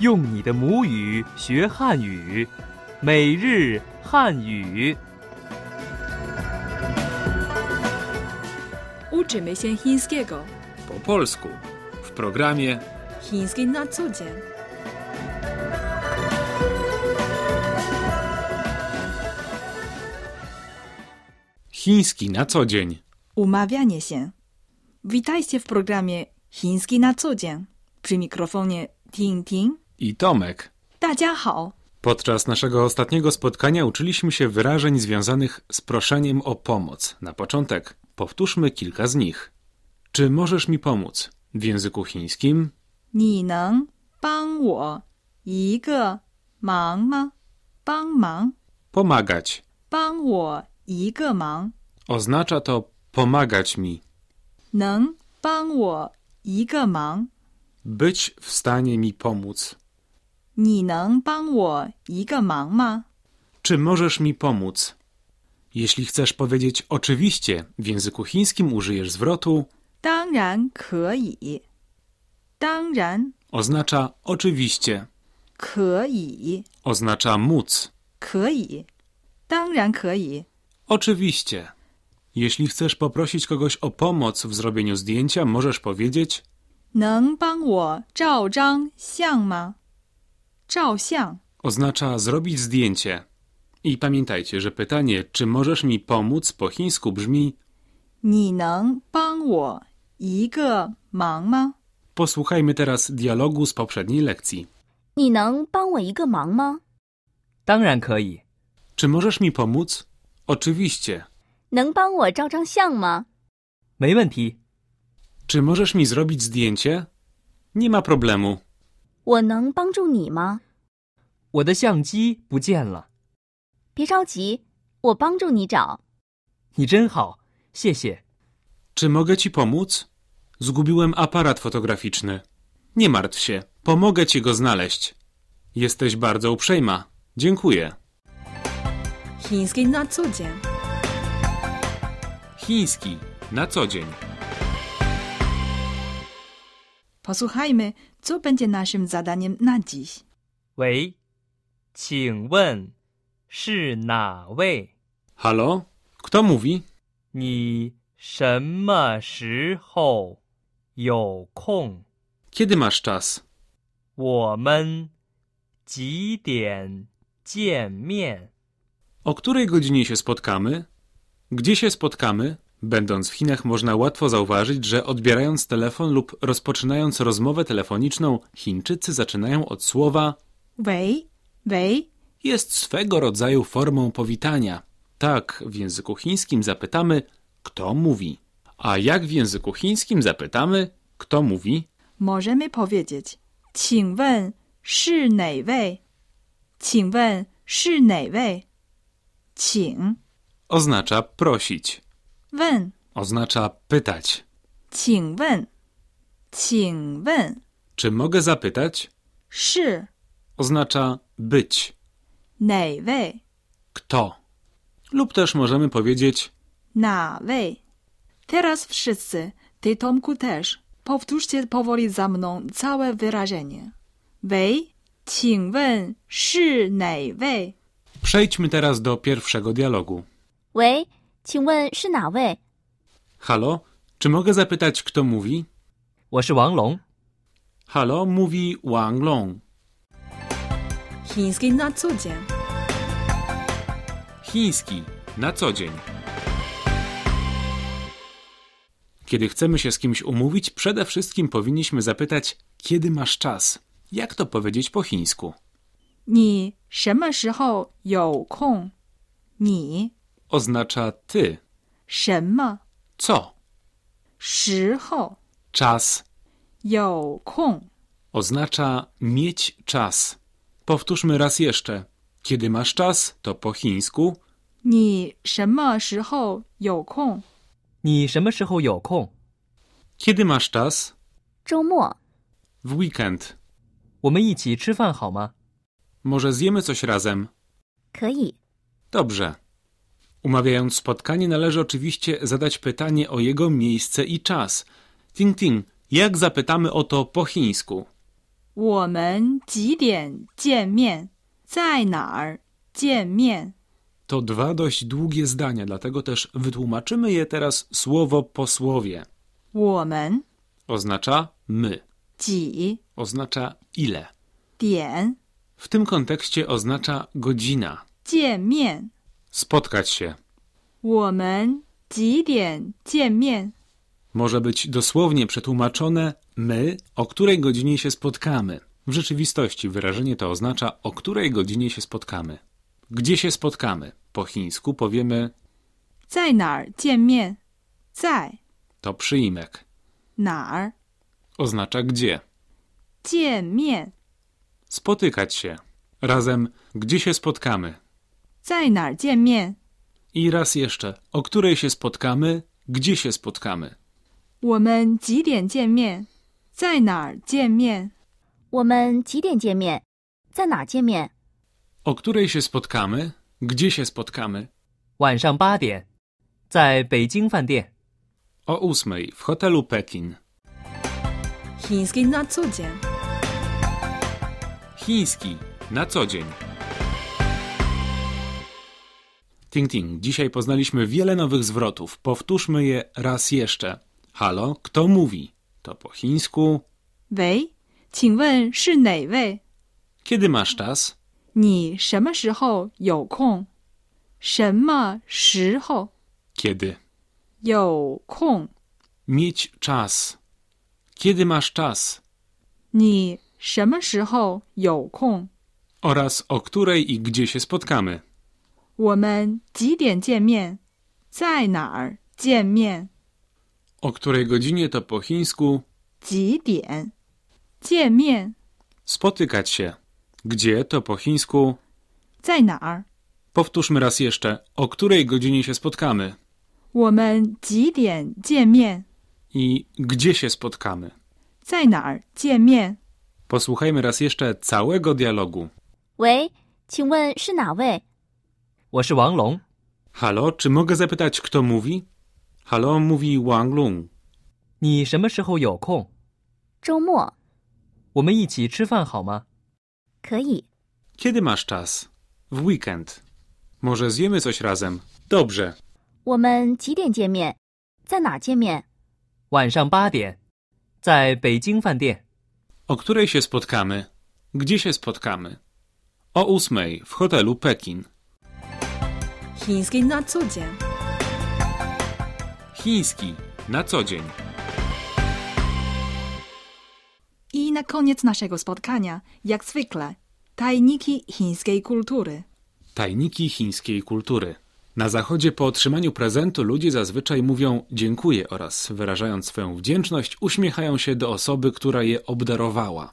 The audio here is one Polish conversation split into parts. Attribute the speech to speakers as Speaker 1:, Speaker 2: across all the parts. Speaker 1: 用你的母语学汉语，每日汉语。
Speaker 2: Uczymy się chińskiego.
Speaker 3: po polsku w programie
Speaker 2: Chiński na co dzień.
Speaker 3: Chiński na co dzień.
Speaker 2: Umawianie się. Witajcie w programie Chiński na co dzień. Przy mikrofonie Ting Ting.
Speaker 3: I Tomek.
Speaker 2: 大家好，
Speaker 3: Podczas naszego ostatniego spotkania uczyliśmy się wyrażeń związanych z proszeniem o pomoc. Na początek powtórzmy kilka z nich. Czy możesz mi pomóc? W języku chińskim
Speaker 2: 你能帮我一个忙吗？帮忙，
Speaker 3: pomagać.
Speaker 2: 帮我一个忙，
Speaker 3: Oznacza to pomagać mi,
Speaker 2: 能帮我一个忙？
Speaker 3: być w stanie mi pomóc.
Speaker 2: 你能帮我一个忙吗？
Speaker 3: Czy możesz mi pomóc? Jeśli chcesz powiedzieć oczywiście, w języku chińskim użyjesz zwrotu
Speaker 2: 当然可以，当然
Speaker 3: oznacza oczywiście.
Speaker 2: 可以，
Speaker 3: oznacza móc.
Speaker 2: 可以，当然可以。
Speaker 3: Oczywiście. Jeśli chcesz poprosić kogoś o pomoc w zrobieniu zdjęcia, możesz powiedzieć
Speaker 2: 能帮我照张相吗？照相，
Speaker 3: oznacza zrobić zdjęcie. I pamiętajcie, że pytanie, czy możesz mi pomóc po chińsku brzmi
Speaker 2: 你能帮我一个忙吗？
Speaker 3: Posłuchajmy teraz dialogu z poprzedniej lekcji.
Speaker 4: 你能帮我一个忙吗？
Speaker 1: 当然可以，
Speaker 3: Czy możesz mi pomóc? Oczywiście.
Speaker 4: 能帮我照张相吗？
Speaker 1: 没问题。
Speaker 3: Czy możesz mi zrobić zdjęcie? Nie ma problemu.
Speaker 4: 我能帮助你吗？
Speaker 1: 我的相机不见了，
Speaker 4: 别着急，我帮助你找。
Speaker 1: 你真好，谢谢。
Speaker 3: Czy mogę ci pomóc? Zgubiłem aparat fotograficzny. Nie martw się, pomogę ci go znaleźć. Jesteś bardzo uprzejma. Dziękuję.
Speaker 2: Chiński na co dzień.
Speaker 3: Chiński na co dzień.
Speaker 2: Posłuchajmy, co będzie naszym zadaniem na dziś.
Speaker 1: 喂，请问是哪位？
Speaker 3: Halo? Kto mówi?
Speaker 1: 你什么时候有空？
Speaker 3: Kiedy masz czas?
Speaker 1: 我们几点见面？
Speaker 3: O której godzinie się spotkamy? Gdzie się spotkamy? Będąc w Chinach, można łatwo zauważyć, że odbierając telefon lub rozpoczynając rozmowę telefoniczną, Chińczycy zaczynają od słowa
Speaker 2: 喂，喂，
Speaker 3: jest swego rodzaju formą powitania. Tak w języku chińskim zapytamy, kto mówi. A jak w języku chińskim zapytamy, kto mówi?
Speaker 2: możemy powiedzieć. 请问是哪位？请问是哪位？请
Speaker 3: Oznacza prosić,
Speaker 2: 问，
Speaker 3: oznacza pytać.
Speaker 2: 请问，请问
Speaker 3: Czy mogę zapytać?
Speaker 2: 是
Speaker 3: Oznacza być,
Speaker 2: 哪位？
Speaker 3: kto. Lub też możemy powiedzieć,
Speaker 2: Na wej. Teraz wszyscy, ty Tomku też, powtórzcie powoli za mną całe wyrażenie. Wej, 请问是哪位？
Speaker 3: przejdźmy teraz do pierwszego dialogu.
Speaker 4: 喂，请问是哪位？
Speaker 3: Halo, czy mogę zapytać, kto mówi?
Speaker 1: 我是王龙。
Speaker 3: Halo, mówi Wang Long.
Speaker 2: Chiński na co dzień.
Speaker 3: Chiński na co dzień. Kiedy chcemy się z kimś umówić, przede wszystkim powinniśmy zapytać, kiedy masz czas. Jak to powiedzieć po chińsku?
Speaker 2: 你什么时候有空？你
Speaker 3: Oznacza ty,
Speaker 2: 什么
Speaker 3: co,
Speaker 2: 时候
Speaker 3: czas.
Speaker 2: 有空？
Speaker 3: Oznacza mieć czas. Powtórzmy raz jeszcze. Kiedy masz czas, to po chińsku
Speaker 2: 你什么时候有空？
Speaker 1: 你什么时候有空？
Speaker 3: kiedy masz czas
Speaker 4: 周末
Speaker 3: w weekend.
Speaker 1: 我们一起吃饭好吗？
Speaker 3: Może zjemy coś razem.
Speaker 4: 可以。
Speaker 3: Dobrze. Umawiając spotkanie, należy oczywiście zadać pytanie o jego miejsce i czas. Ting Ting, jak zapytamy o to po chińsku?
Speaker 2: 我们几点见面？在哪儿见面？
Speaker 3: To dwa dość długie zdania, dlatego też wytłumaczymy je teraz słowo po słowie.
Speaker 2: 我们
Speaker 3: Oznacza my,
Speaker 2: 几
Speaker 3: oznacza ile.
Speaker 2: 点
Speaker 3: W tym kontekście oznacza godzina.
Speaker 2: 见面？
Speaker 3: Spotkać się
Speaker 2: 我们几点见面？
Speaker 3: może być dosłownie przetłumaczone my, o której godzinie się spotkamy. W rzeczywistości wyrażenie to oznacza o której godzinie się spotkamy. Gdzie się spotkamy? Po chińsku powiemy
Speaker 2: 在哪儿见面？在
Speaker 3: to przyimek.
Speaker 2: 哪儿
Speaker 3: Oznacza gdzie.
Speaker 2: 见面？
Speaker 3: Spotykać się. Razem gdzie się spotkamy.
Speaker 2: 在哪儿见面？
Speaker 3: I raz jeszcze, o której się spotkamy, gdzie się spotkamy.
Speaker 2: 我们几点见面？在哪儿见面？
Speaker 4: 我们几点见面？在哪儿见面？
Speaker 3: O której się spotkamy, gdzie się spotkamy.
Speaker 1: 晚上八点，在北京饭店。
Speaker 3: O ósmej w hotelu Pekin.
Speaker 2: Chiński na co dzień.
Speaker 3: Chiński na co dzień. Ting ting, dzisiaj poznaliśmy wiele nowych zwrotów. Powtórzmy je raz jeszcze. Halo, kto mówi? To po chińsku.
Speaker 2: 喂，请问是哪位？
Speaker 3: Kiedy masz czas?
Speaker 2: 你什么时候有空？什么时候
Speaker 3: Kiedy?
Speaker 2: 有空？
Speaker 3: Mieć czas. Kiedy masz czas?
Speaker 2: 你什么时候有空？
Speaker 3: Oraz o której i gdzie się spotkamy.
Speaker 2: 我们几点见面？在哪儿见面？
Speaker 3: O której godzinie to po chińsku
Speaker 2: 几点？见面
Speaker 3: spotykać się. Gdzie to po chińsku?
Speaker 2: 在哪儿？
Speaker 3: Powtórzmy raz jeszcze, o której godzinie się spotkamy
Speaker 2: 我们几点见面？
Speaker 3: i gdzie się spotkamy.
Speaker 2: 在哪儿见面？
Speaker 3: Posłuchajmy raz jeszcze całego dialogu.
Speaker 4: 喂，请问是哪位？
Speaker 1: 我是王龙，
Speaker 3: Halo, czy mogę zapytać, kto mówi? Halo, mówi Wang Lung.
Speaker 1: 你什么时候有空？
Speaker 4: 周末
Speaker 1: 我们一起吃饭好吗？
Speaker 4: 可以。
Speaker 3: Kiedy masz czas? W weekend. Może zjemy coś razem? Dobrze.
Speaker 4: 我们几点见面？在哪儿见面？
Speaker 1: 晚上八点，在北京饭店。
Speaker 3: O której się spotkamy? Gdzie się spotkamy? O ósmej w hotelu Pekin.
Speaker 2: Chiński na co dzień.
Speaker 3: Chiński na co dzień.
Speaker 2: I na koniec naszego spotkania, jak zwykle, tajniki chińskiej kultury.
Speaker 3: Tajniki chińskiej kultury. Na zachodzie po otrzymaniu prezentu ludzie zazwyczaj mówią dziękuję oraz wyrażając swoją wdzięczność uśmiechają się do osoby, która je obdarowała.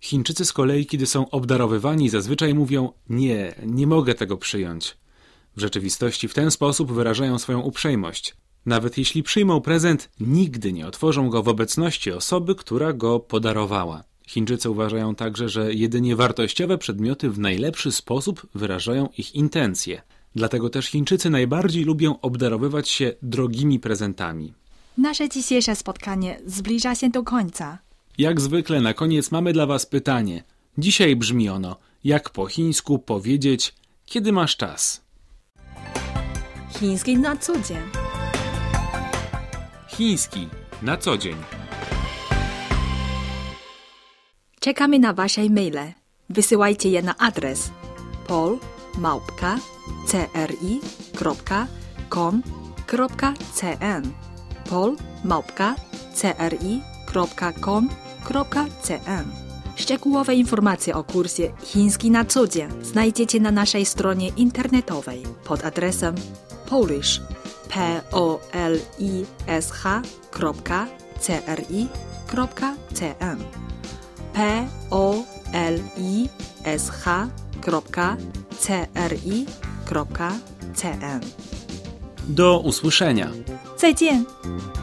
Speaker 3: Chińczycy z kolei, kiedy są obdarowywani, zazwyczaj mówią nie, nie mogę tego przyjąć. W rzeczywistości w ten sposób wyrażają swoją uprzejmość. Nawet jeśli przyjmą prezent, nigdy nie otworzą go w obecności osoby, która go podarowała. Chińczycy uważają także, że jedynie wartościowe przedmioty w najlepszy sposób wyrażają ich intencje. Dlatego też Chińczycy najbardziej lubią obdarowywać się drogimi prezentami.
Speaker 2: Nasze dzisiejsze spotkanie zbliża się do końca.
Speaker 3: Jak zwykle na koniec mamy dla Was pytanie. Dzisiaj brzmi ono: jak po chińsku powiedzieć, kiedy masz czas?
Speaker 2: Chiński na co dzień.
Speaker 3: Chiński na co dzień.
Speaker 2: Czekamy na Wasze e-maile. Wysyłajcie je na adres polmałpka.cri.com.cn polmałpka.cri.com.cn Szczegółowe informacje o kursie Chiński na co dzień znajdziecie na naszej stronie internetowej pod adresem polish polish.cri.cn p o l i s h c r i c n。
Speaker 3: Do usłyszenia.
Speaker 2: 再见。